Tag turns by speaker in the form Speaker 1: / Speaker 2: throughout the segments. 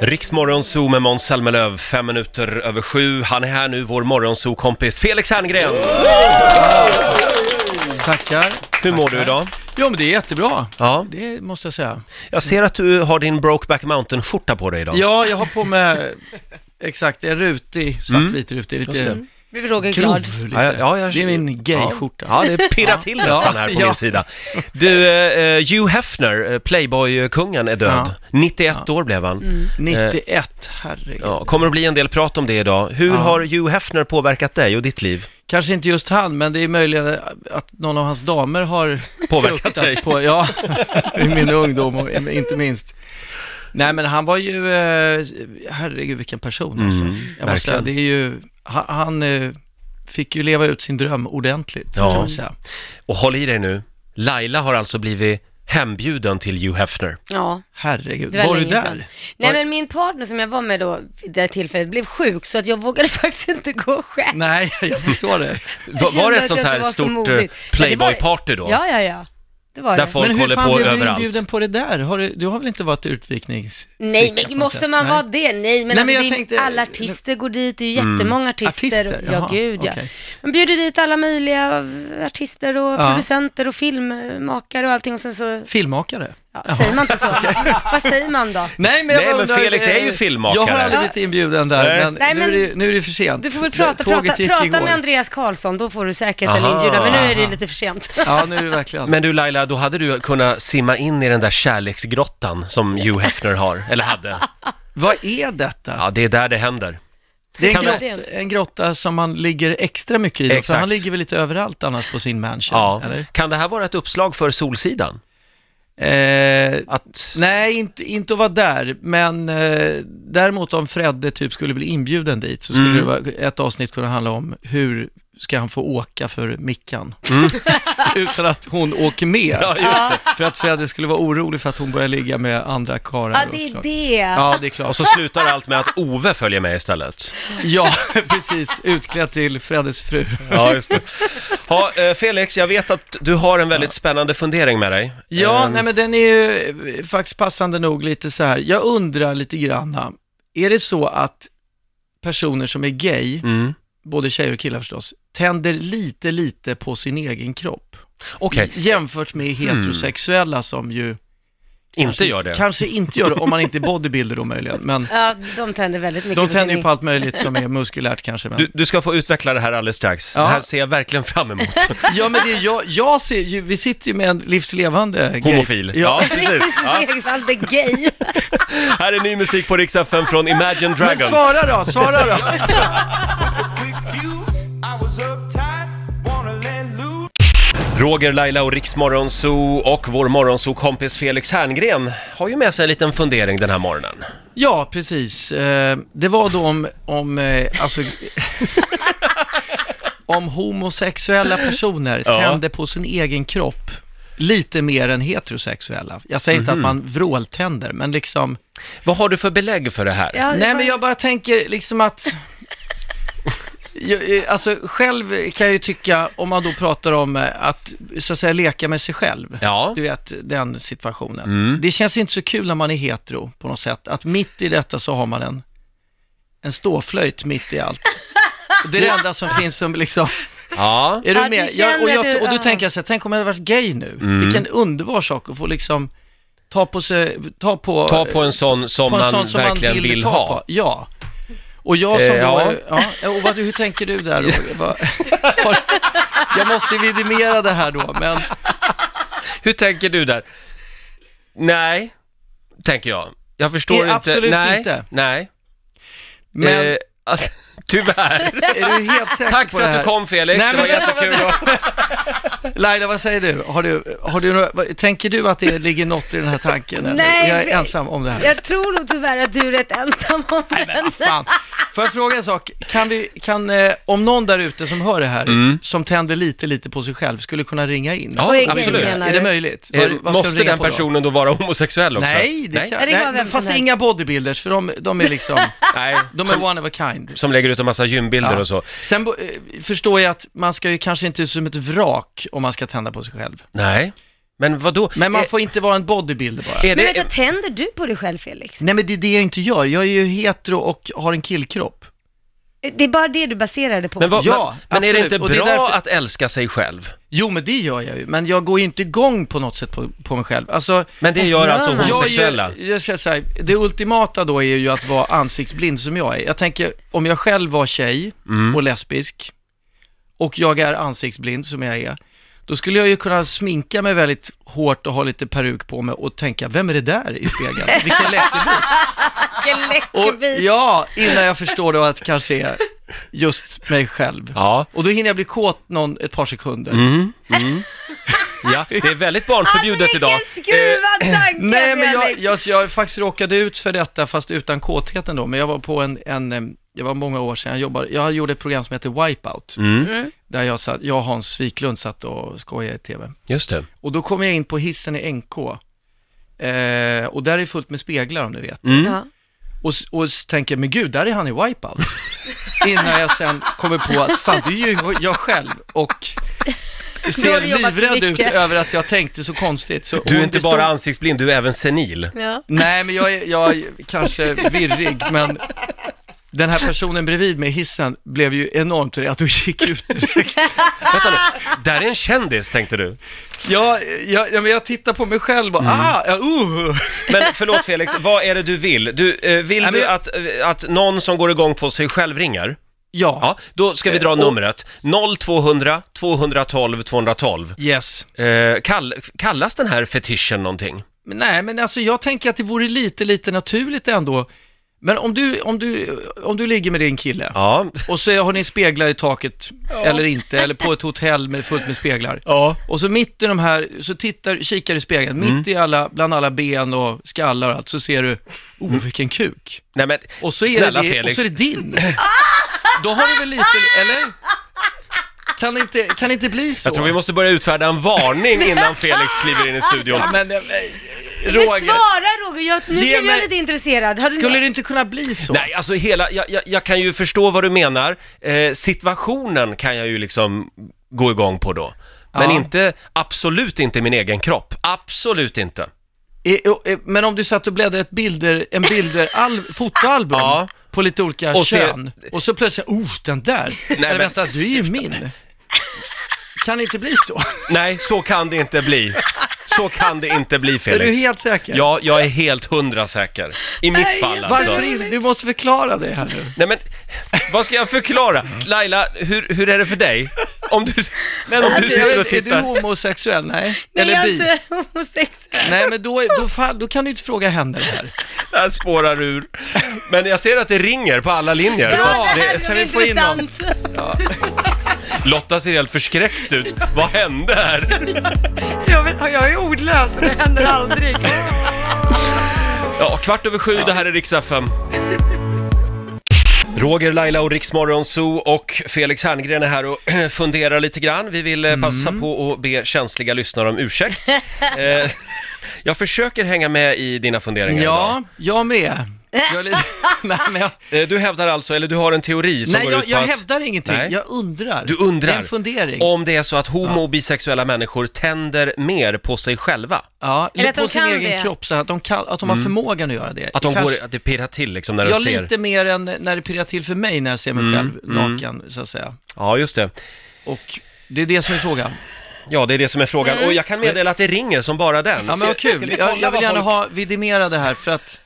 Speaker 1: Riksmorgonzoo med Måns Zelmerlöw, fem minuter över sju. Han är här nu, vår morgonzoo-kompis Felix Herngren.
Speaker 2: Tackar.
Speaker 1: Hur mår du idag?
Speaker 2: Jo, men det är jättebra.
Speaker 1: Ja,
Speaker 2: Det måste jag säga.
Speaker 1: jag ser att du har din Brokeback Mountain-skjorta på dig idag.
Speaker 2: Ja, jag har på mig exakt en rutig, svartvit rutig,
Speaker 1: Mm. Just det.
Speaker 2: lite
Speaker 3: Blir Roger glad?
Speaker 2: grov. Lite.
Speaker 1: Ja, ja, ja, jag-
Speaker 2: Det är min gay-skjorta.
Speaker 1: Ja, ja, det pirrar till
Speaker 2: Ja.
Speaker 1: nästan här på
Speaker 2: Ja.
Speaker 1: min sida. Du, eh, Hugh Hefner, eh, Playboy-kungen, är död.
Speaker 2: Ja.
Speaker 1: 91 år blev han.
Speaker 2: Mm. 91, herregud.
Speaker 1: Ja, kommer att bli en del prat om det idag. Hur
Speaker 2: Ja.
Speaker 1: har Hugh Hefner påverkat dig och ditt liv?
Speaker 2: Kanske inte just han, men det är möjligen att någon av hans damer har
Speaker 1: Påverkat
Speaker 2: fruktats
Speaker 1: dig.
Speaker 2: På, ja, i min ungdom och inte minst. Nej, men han var ju, eh, herregud vilken person alltså.
Speaker 1: Mm,
Speaker 2: Jag måste säga,
Speaker 1: verkligen.
Speaker 2: det är ju, han, han eh, fick ju leva ut sin dröm ordentligt,
Speaker 1: Ja.
Speaker 2: kan man säga.
Speaker 1: Och håll i dig nu, Laila har alltså blivit hembjuden till Hugh Hefner.
Speaker 3: Ja,
Speaker 2: Herregud,
Speaker 3: det var,
Speaker 2: var du
Speaker 3: länge
Speaker 2: där?
Speaker 3: sedan. Nej men min partner som jag var med då vid det här tillfället blev sjuk så att jag vågade faktiskt inte gå själv.
Speaker 2: Nej, jag förstår det.
Speaker 1: Va-
Speaker 3: Jag
Speaker 1: var det
Speaker 3: kände
Speaker 1: ett
Speaker 3: att
Speaker 1: sånt
Speaker 3: jag
Speaker 1: här
Speaker 3: inte var så
Speaker 1: stort eh,
Speaker 3: modig. Men det var-
Speaker 1: Playboy-party då?
Speaker 3: Ja, ja, ja. Det var
Speaker 1: Där
Speaker 3: det.
Speaker 1: folk
Speaker 2: men hur
Speaker 1: håller
Speaker 2: fan
Speaker 1: på
Speaker 2: blev du
Speaker 1: överallt.
Speaker 2: inbjuden på det där? Har du, du har väl inte varit utviknings...
Speaker 3: Nej,
Speaker 2: flicka på något
Speaker 3: men måste
Speaker 2: sätt?
Speaker 3: man
Speaker 2: Nej.
Speaker 3: vara det? Nej, men,
Speaker 2: Nej, men
Speaker 3: alltså,
Speaker 2: jag
Speaker 3: det är,
Speaker 2: tänkte- Mm.
Speaker 3: alla artister går dit, det är ju jättemånga artister.
Speaker 2: Artister?
Speaker 3: Ja,
Speaker 2: Jaha,
Speaker 3: gud ja.
Speaker 2: okej.
Speaker 3: Man bjuder dit alla möjliga artister och
Speaker 2: Ja.
Speaker 3: producenter och filmmakare och allting och sen så,
Speaker 2: Filmmakare?
Speaker 3: ja, säger man inte så? Vad säger man då?
Speaker 2: Nej,
Speaker 1: Nej,
Speaker 2: bara
Speaker 1: men Felix är ju
Speaker 2: eh,
Speaker 1: filmmakare.
Speaker 2: Jag har aldrig blivit inbjuden där,
Speaker 1: Nej.
Speaker 2: men,
Speaker 3: Nej, men-
Speaker 2: Nu, är det, nu är det för sent.
Speaker 3: Du får väl prata,
Speaker 2: Tåget
Speaker 3: prata,
Speaker 2: gick
Speaker 3: prata
Speaker 2: igår.
Speaker 3: med Andreas Karlsson, då får du säkert
Speaker 1: Aha.
Speaker 3: en inbjudan, men nu är det
Speaker 2: Aha.
Speaker 3: lite för sent.
Speaker 2: Ja, nu är det verkligen.
Speaker 1: Men du Laila, då hade du kunnat simma in i den där kärleksgrottan som Hugh Hefner har, eller hade.
Speaker 2: Vad är detta?
Speaker 1: Ja, det är där det händer.
Speaker 2: det är
Speaker 1: kan
Speaker 2: en,
Speaker 1: man-
Speaker 2: grott, en grotta som man ligger extra mycket i, då, för
Speaker 1: Exakt.
Speaker 2: han ligger väl lite överallt annars på sin mansion?
Speaker 1: Ja.
Speaker 2: Eller?
Speaker 1: Kan det här vara ett uppslag för Solsidan?
Speaker 2: Eh,
Speaker 1: Att...
Speaker 2: Nej, inte, inte att vara där, men eh, däremot om Fredde typ skulle bli inbjuden dit så skulle
Speaker 1: Mm.
Speaker 2: det vara, ett avsnitt kunna handla om hur ska han få åka för Mickan?
Speaker 1: Mm.
Speaker 2: Utan att hon åker med. För att Fredde skulle vara orolig för att hon börjar ligga med andra karlar.
Speaker 3: Ja,
Speaker 2: och
Speaker 3: det är
Speaker 2: såklart.
Speaker 3: det.
Speaker 2: Ja, det är klart.
Speaker 1: Och så slutar allt med att Ove följer med istället.
Speaker 2: Ja, precis. Utklädd till Freddes fru.
Speaker 1: Ja, just det. Ha, eh, Felix, jag vet att du har en väldigt spännande fundering med dig.
Speaker 2: Ja,
Speaker 1: Ehm,
Speaker 2: nej men den är ju eh, faktiskt passande nog lite så här. Jag undrar lite granna, är det så att personer som är gay,
Speaker 1: Mm.
Speaker 2: både tjejer och killar förstås, tänder lite, lite på sin egen kropp.
Speaker 1: Okej,
Speaker 2: Jämfört med heterosexuella som ju
Speaker 1: inte gör det.
Speaker 2: kanske inte gör det, om man inte är bodybuilder då möjligen. Men
Speaker 3: Ja, de tänder väldigt mycket
Speaker 2: de tänder ju
Speaker 3: sin-
Speaker 2: på allt möjligt som är muskulärt kanske. Men...
Speaker 1: Du, du ska få utveckla det här alldeles strax.
Speaker 2: Ja.
Speaker 1: Det här ser jag verkligen fram emot.
Speaker 2: Ja, men det är jag, jag ser ju, vi sitter ju med en livslevande gay.
Speaker 1: Homofil.
Speaker 2: Ja.
Speaker 1: precis. Ja.
Speaker 3: Levande gay.
Speaker 1: Här är ny musik på Rix FM från Imagine
Speaker 2: Men
Speaker 1: Dragons.
Speaker 2: svara då, svara då.
Speaker 4: quick fuse. I was uptight, wanna let loose.
Speaker 1: Roger, Laila och Riksmorgon Zoo och vår morgonzoo-kompis Felix Herngren har ju med sig en liten fundering den här morgonen.
Speaker 2: Ja, precis. Eh, Det var då om, om eh, alltså... om homosexuella personer
Speaker 1: Ja.
Speaker 2: tände på sin egen kropp lite mer än heterosexuella. Jag säger inte
Speaker 3: Mhm.
Speaker 2: att man vråltänder, men liksom...
Speaker 1: Vad har du för belägg för det här?
Speaker 3: Ja, det
Speaker 2: Nej,
Speaker 3: var-
Speaker 2: men jag bara tänker liksom att... Jag, eh, alltså, själv kan jag ju tycka, om man då pratar om eh, att, så att säga, leka med sig själv.
Speaker 1: Ja.
Speaker 2: Du vet, den situationen.
Speaker 1: Mm.
Speaker 2: Det känns inte så kul när man är hetero på något sätt, att mitt i detta så har man en, en ståflöjt mitt i allt. Och Det är det enda som finns som liksom,
Speaker 1: Ja.
Speaker 2: är
Speaker 3: Ja,
Speaker 2: du
Speaker 3: du
Speaker 2: med?
Speaker 3: känner
Speaker 2: Jag, och,
Speaker 3: att du-
Speaker 2: jag, och då
Speaker 3: ja.
Speaker 2: tänker jag så här, tänk om jag hade varit gay nu.
Speaker 1: Mm.
Speaker 2: Vilken underbar sak att få liksom ta på sig, ta på,
Speaker 1: Ta på en sån som
Speaker 2: på en
Speaker 1: man
Speaker 2: sån som man
Speaker 1: verkligen
Speaker 2: vill,
Speaker 1: vill
Speaker 2: ta
Speaker 1: ha.
Speaker 2: på. Ja. Och jag som
Speaker 1: Eh, ja.
Speaker 2: då, ja. ja och vad, hur tänker du där Roger? Vad- har- Jag måste vidimera det här då, men
Speaker 1: Hur tänker du där? Nej, tänker jag. Jag förstår
Speaker 2: Eh,
Speaker 1: inte.
Speaker 2: absolut
Speaker 1: nej,
Speaker 2: inte.
Speaker 1: Nej.
Speaker 2: Men-
Speaker 1: Eh, att- tyvärr.
Speaker 2: är du helt säker
Speaker 1: Tack
Speaker 2: på
Speaker 1: för
Speaker 2: det
Speaker 1: att du
Speaker 2: här?
Speaker 1: kom Felix,
Speaker 2: Nej,
Speaker 1: det var
Speaker 2: men vänta,
Speaker 1: jättekul.
Speaker 2: Laila, vad säger du? Har du, har du några, vad- tänker du att det ligger något i den här tanken? Eller?
Speaker 3: Nej,
Speaker 2: jag är
Speaker 3: för-
Speaker 2: ensam om det här. ah,
Speaker 3: Jag tror nog tyvärr att du är rätt ensam om den.
Speaker 2: Fan. Får jag fråga en sak? Kan vi, kan, eh, om någon där ute som hör det här, som tänder lite, lite på sig själv, skulle kunna ringa in?
Speaker 1: Mm. Ja,
Speaker 3: Och är gay,
Speaker 1: absolut.
Speaker 3: menar
Speaker 2: Är
Speaker 3: du?
Speaker 2: det möjligt?
Speaker 1: Eh,
Speaker 2: Vad- vad ska vi
Speaker 1: Måste
Speaker 2: ringa
Speaker 1: den
Speaker 2: på då?
Speaker 1: personen då vara homosexuell också?
Speaker 2: Nej, det kan
Speaker 3: Ja, det kan vara
Speaker 2: nej,
Speaker 3: vem som
Speaker 2: Fast
Speaker 3: helst.
Speaker 2: inga bodybuilders, för de, de är liksom,
Speaker 1: Nej,
Speaker 2: de är
Speaker 1: som,
Speaker 2: one of a kind.
Speaker 1: som lägger ut en massa gymbilder
Speaker 2: Ja.
Speaker 1: och så.
Speaker 2: Sen bo- eh, förstår jag att man ska ju kanske inte se ut som ett vrak om man ska tända på sig själv.
Speaker 1: Nej, Men vadå?
Speaker 2: Men man
Speaker 1: Eh,
Speaker 2: får inte vara en bodybuilder bara.
Speaker 1: Är
Speaker 3: Men vänta,
Speaker 1: det...
Speaker 3: tänder du på dig själv Felix?
Speaker 2: Nej men det är det jag inte gör. Jag är ju hetero och har en killkropp.
Speaker 3: Det är bara det du baserar det på?
Speaker 1: Men, vad,
Speaker 2: Ja,
Speaker 1: men, men är det
Speaker 2: absolut.
Speaker 1: inte
Speaker 2: Och det är
Speaker 1: bra
Speaker 2: därför-
Speaker 1: att älska sig själv?
Speaker 2: Jo men det gör jag ju, men jag går ju inte igång på något sätt på, på mig själv. Alltså,
Speaker 1: Men det
Speaker 3: Fast
Speaker 1: gör
Speaker 3: gör
Speaker 1: alltså
Speaker 3: man?
Speaker 1: homosexuella?
Speaker 2: Jag, är ju- jag ska säga, det ultimata då är ju att vara ansiktsblind som jag är. Jag tänker, om jag själv var tjej
Speaker 1: Mm.
Speaker 2: och lesbisk och jag är ansiktsblind som jag är, då skulle jag ju kunna sminka mig väldigt hårt och ha lite peruk på mig och tänka, vem är det där i spegeln? Vilken läckerbit!
Speaker 3: Vilken
Speaker 2: Och,
Speaker 3: läckerbit!
Speaker 2: ja, innan jag förstår då att det kanske är just mig själv.
Speaker 1: Ja.
Speaker 2: Och då hinner jag bli kåt någon, ett par sekunder.
Speaker 1: ja, det är väldigt barnförbjudet
Speaker 3: alltså,
Speaker 1: idag.
Speaker 3: vilken skruvad tanke
Speaker 2: Eh, Nej, men jag,
Speaker 3: Felix.
Speaker 2: jag, jag faktiskt råkade ut för detta, fast utan kåtheten då. Men jag var på en, en eh, det var många år sedan, jag, jobbade, jag gjorde ett program som heter Wipeout. Där jag, satt, jag och Hans Wiklund satt och skojade i tv.
Speaker 1: Eh, Just det.
Speaker 2: Och då kom jag in på hissen i NK. Eh, och där är fullt med speglar om du vet.
Speaker 1: Mm.
Speaker 3: Ja.
Speaker 2: Och, s- och s- tänker, men gud, där är han i Wipeout. Innan jag sen kommer på att, fan, det är ju jag själv. Och
Speaker 3: Då har
Speaker 2: ser
Speaker 3: du jobbat för
Speaker 2: livrädd ut
Speaker 3: mycket.
Speaker 2: över att jag tänkte så konstigt. Så
Speaker 1: Du är
Speaker 2: hon
Speaker 1: inte
Speaker 2: bestod-
Speaker 1: bara ansiktsblind, du är även senil.
Speaker 3: Ja.
Speaker 2: Nej, men jag är, jag är kanske virrig, men den här personen bredvid mig i hissen blev ju enormt rädd och gick ut direkt.
Speaker 1: Vänta nu, där är en kändis tänkte du.
Speaker 2: Jag, jag, ja, men jag tittar på mig själv
Speaker 1: Mm.
Speaker 2: och ah, ja, uh.
Speaker 1: Men förlåt Felix, vad är det du vill? Du, eh, vill
Speaker 2: Nej, men-
Speaker 1: du att, eh, att någon som går igång på sig själv ringer?
Speaker 2: Ja,
Speaker 1: Ja, då ska vi
Speaker 2: Eh,
Speaker 1: dra numret. 0200 212 212.
Speaker 2: yes.
Speaker 1: Eh, kall, kallas den här fetischen någonting?
Speaker 2: Men, nej, men alltså jag tänker att det vore lite, lite naturligt ändå. Men om du, om du, om du ligger med din kille
Speaker 1: Ja.
Speaker 2: och så har ni speglar i taket eller inte, eller på ett hotell med fullt med speglar.
Speaker 1: Ja. Mm.
Speaker 2: Och så mitt i de här, så tittar, kikar i spegeln, mitt i alla, bland alla ben och skallar och allt, så ser du, oh vilken kuk.
Speaker 1: Nej men,
Speaker 2: Och så är,
Speaker 1: Mm. snälla
Speaker 2: det,
Speaker 1: Felix.
Speaker 2: Och så är det din. Då har du väl lite, eller? Kan det inte, kan det inte bli så?
Speaker 1: Jag tror vi måste börja utfärda en varning innan Felix kliver in i studion.
Speaker 2: Ja, men, eh, eh,
Speaker 3: Du
Speaker 2: Roger,
Speaker 3: svarar Roger, jag, nu
Speaker 2: Ge
Speaker 3: blev jag
Speaker 2: mig-
Speaker 3: lite intresserad. Hade
Speaker 2: skulle
Speaker 3: ni...
Speaker 2: det inte kunna bli så?
Speaker 1: Nej, alltså hela, jag, jag, jag kan ju förstå vad du menar. Eh, situationen kan jag ju liksom gå igång på då. Men
Speaker 2: Ja.
Speaker 1: inte, absolut inte min egen kropp. Absolut inte.
Speaker 2: Eh, och, eh, Men om du satt och bläddrade ett bilder, en bilder, al, fotoalbum
Speaker 1: Ja.
Speaker 2: på lite olika
Speaker 1: Och se-
Speaker 2: kön och så plötsligt, oh den där, eller
Speaker 1: men
Speaker 2: vänta, du är ju
Speaker 1: sluta.
Speaker 2: min. Kan det inte bli så?
Speaker 1: Nej, så kan det inte bli. Så kan det inte bli Felix.
Speaker 2: Är du helt säker?
Speaker 1: Ja, jag är helt hundra säker. I mitt
Speaker 3: Nej,
Speaker 1: fall alltså.
Speaker 2: Varför inte? Du måste förklara det här nu.
Speaker 1: Nej men, vad ska jag förklara? Laila, hur, hur är det för dig? Om du, om du sitter och
Speaker 2: är du
Speaker 1: tittar.
Speaker 2: homosexuell? Nej.
Speaker 3: Nej,
Speaker 2: Eller
Speaker 3: jag är
Speaker 2: bi?
Speaker 3: inte homosexuell.
Speaker 2: Nej, men då, är- då, fall, då kan du inte fråga henne det här.
Speaker 1: Det här spårar ur. Men jag ser att det ringer på alla linjer. så
Speaker 3: Bra,
Speaker 1: att
Speaker 3: det
Speaker 1: det,
Speaker 3: här
Speaker 2: kan
Speaker 3: blev
Speaker 2: vi få in någon?
Speaker 3: intressant.
Speaker 1: Lotta ser helt förskräckt ut. Vad hände här?
Speaker 5: Jag, vet, jag är ordlös och det händer aldrig.
Speaker 1: Ja, kvart över sju, det här är Rix FM. Roger, Laila och Riksmorgon Zoo och Felix Herngren är här och funderar lite grann. Vi vill eh, passa
Speaker 2: Mm.
Speaker 1: på att be känsliga lyssnare om ursäkt. Eh, jag försöker hänga med i dina funderingar
Speaker 2: Ja, jag med. Jag är lite, nej, men jag,
Speaker 1: idag. Eh, Du hävdar alltså, eller du har en teori som
Speaker 2: nej,
Speaker 1: går ut
Speaker 2: jag,
Speaker 1: på
Speaker 2: jag
Speaker 1: att...
Speaker 2: hävdar ingenting.
Speaker 1: Nej.
Speaker 2: Jag undrar.
Speaker 1: Du undrar
Speaker 2: Det är en fundering.
Speaker 1: om det är så att homo och bisexuella människor tänder mer på sig själva.
Speaker 2: ja,
Speaker 3: Eller att
Speaker 2: på
Speaker 3: de
Speaker 2: sin
Speaker 3: kan
Speaker 2: egen
Speaker 3: det.
Speaker 2: kropp, så här, att de, kan, att de har förmågan att göra det.
Speaker 1: Mm. Att de
Speaker 2: Kanske-
Speaker 1: går, att det pirrar till liksom när de
Speaker 2: Ja,
Speaker 1: ser. Mm,
Speaker 2: lite mer än när det pirrar till för mig när jag ser mig själv naken, så att säga.
Speaker 1: Ja, just det.
Speaker 2: Och det är det som är frågan.
Speaker 1: Ja, det är det som är frågan. Och jag kan meddela att det ringer som bara den.
Speaker 2: Mm. Ja men vad
Speaker 1: Ska- ska
Speaker 2: kul,
Speaker 1: vi
Speaker 2: jag,
Speaker 1: kolla
Speaker 2: jag vill
Speaker 1: vad
Speaker 2: gärna
Speaker 1: folk-
Speaker 2: ha vidimera det här för att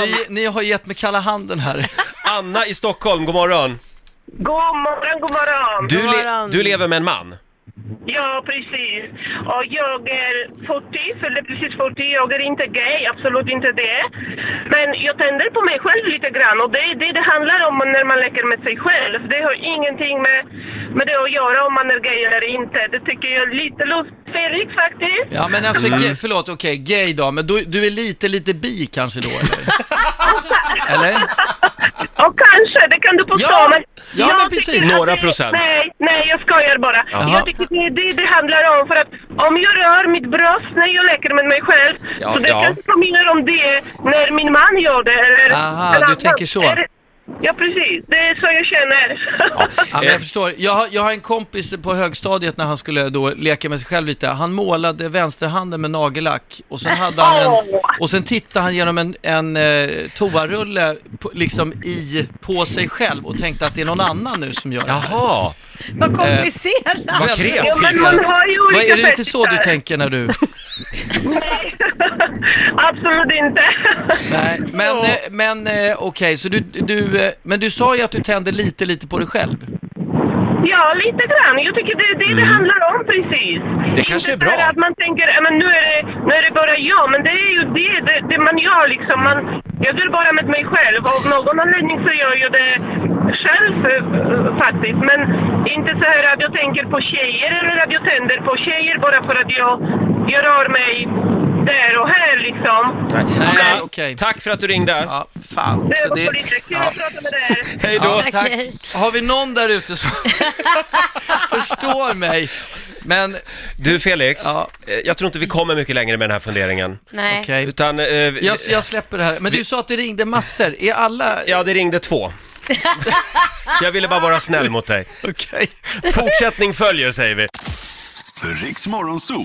Speaker 2: ni, ni har gett mig kalla handen här.
Speaker 1: Anna i Stockholm, god morgon.
Speaker 6: God morgon, god morgon.
Speaker 1: Du,
Speaker 3: God
Speaker 1: le-
Speaker 3: morgon.
Speaker 1: du lever med en man.
Speaker 6: Ja, precis. Och jag är 40, fyllde precis 40. Jag är inte gay, absolut inte det. Men jag tänder på mig själv lite grann och det är det det handlar om när man leker med sig själv. Det har ingenting med, med det att göra om man är gay eller inte. Det tycker jag är lite lustfälligt faktiskt.
Speaker 2: Ja
Speaker 1: Mm.
Speaker 2: men alltså, gay, förlåt, okej, gay då, men du, du är lite, lite bi kanske då eller? eller?
Speaker 6: Och kanske, det kan du påstå.
Speaker 2: Ja,
Speaker 6: men
Speaker 2: ja,
Speaker 6: jag
Speaker 2: men precis.
Speaker 6: tycker att
Speaker 1: Några
Speaker 6: det-
Speaker 1: procent.
Speaker 6: Nej, nej, jag skojar bara.
Speaker 2: Jaha.
Speaker 6: Jag tycker det är det det handlar om. För att om jag rör mitt bröst när jag leker med mig själv,
Speaker 1: Ja,
Speaker 6: så det
Speaker 1: ja.
Speaker 6: kanske påminner om det när min man gör det. Eller,
Speaker 2: Aha,
Speaker 6: eller
Speaker 2: du
Speaker 6: annan-
Speaker 2: tänker så.
Speaker 6: eller- Ja, precis. Det är så jag känner.
Speaker 2: Ja, men
Speaker 1: Eh.
Speaker 2: jag förstår. Jag har, jag har en kompis på högstadiet när han skulle då leka med sig själv lite. Han målade vänsterhanden med nagellack och sen, hade han en, och sen tittade han genom en, en eh, toarulle på, liksom i, på sig själv och tänkte att det är någon annan nu som gör det. här.
Speaker 1: Jaha,
Speaker 2: Eh.
Speaker 3: Vad
Speaker 1: vad
Speaker 3: komplicerat.
Speaker 6: ja, men man
Speaker 1: kreativt.
Speaker 6: har ju
Speaker 2: Vad,
Speaker 6: olika
Speaker 2: är det inte så du
Speaker 6: fetischar.
Speaker 2: tänker när du...
Speaker 6: Nej, absolut inte.
Speaker 2: Nej, men, eh, men eh, okej, så du, du, eh, men du sa ju att du tände lite, lite på dig själv.
Speaker 6: Ja, lite grann. Jag tycker det är det det handlar om precis.
Speaker 1: Mm. Det kanske är
Speaker 6: inte
Speaker 1: bra.
Speaker 6: så här att man tänker, "Ja, men nu är, det, nu är det bara jag, men det är ju det, det, det man gör liksom. Man, jag gör bara med mig själv. Av någon anledning så gör jag det själv eh, faktiskt. Men inte så här att jag tänker på tjejer eller att jag tänder på tjejer bara för att jag, jag rör mig där och här liksom.
Speaker 1: Nej,
Speaker 2: Nej,
Speaker 1: Anna,
Speaker 2: okej.
Speaker 1: Tack för att du ringde.
Speaker 2: Ja, fan.
Speaker 6: Det
Speaker 2: Så
Speaker 6: var
Speaker 2: det,
Speaker 6: lite kul
Speaker 2: ja.
Speaker 6: att prata med dig.
Speaker 1: Hej då.
Speaker 2: Ja,
Speaker 3: Tack,
Speaker 2: tack.
Speaker 3: hej.
Speaker 2: Har vi någon där ute som förstår mig? Men
Speaker 1: Du Felix,
Speaker 2: Ja.
Speaker 1: eh, jag tror inte vi kommer mycket längre med den här funderingen.
Speaker 3: Nej.
Speaker 2: okej,
Speaker 1: Utan, eh, vi-
Speaker 2: jag, jag släpper det här. Men du sa att det ringde massor. Är alla...
Speaker 1: ja det ringde två. jag ville bara vara snäll mot dig.
Speaker 2: Okej.
Speaker 1: Fortsättning följer säger vi.
Speaker 7: Riks Morgonzoo.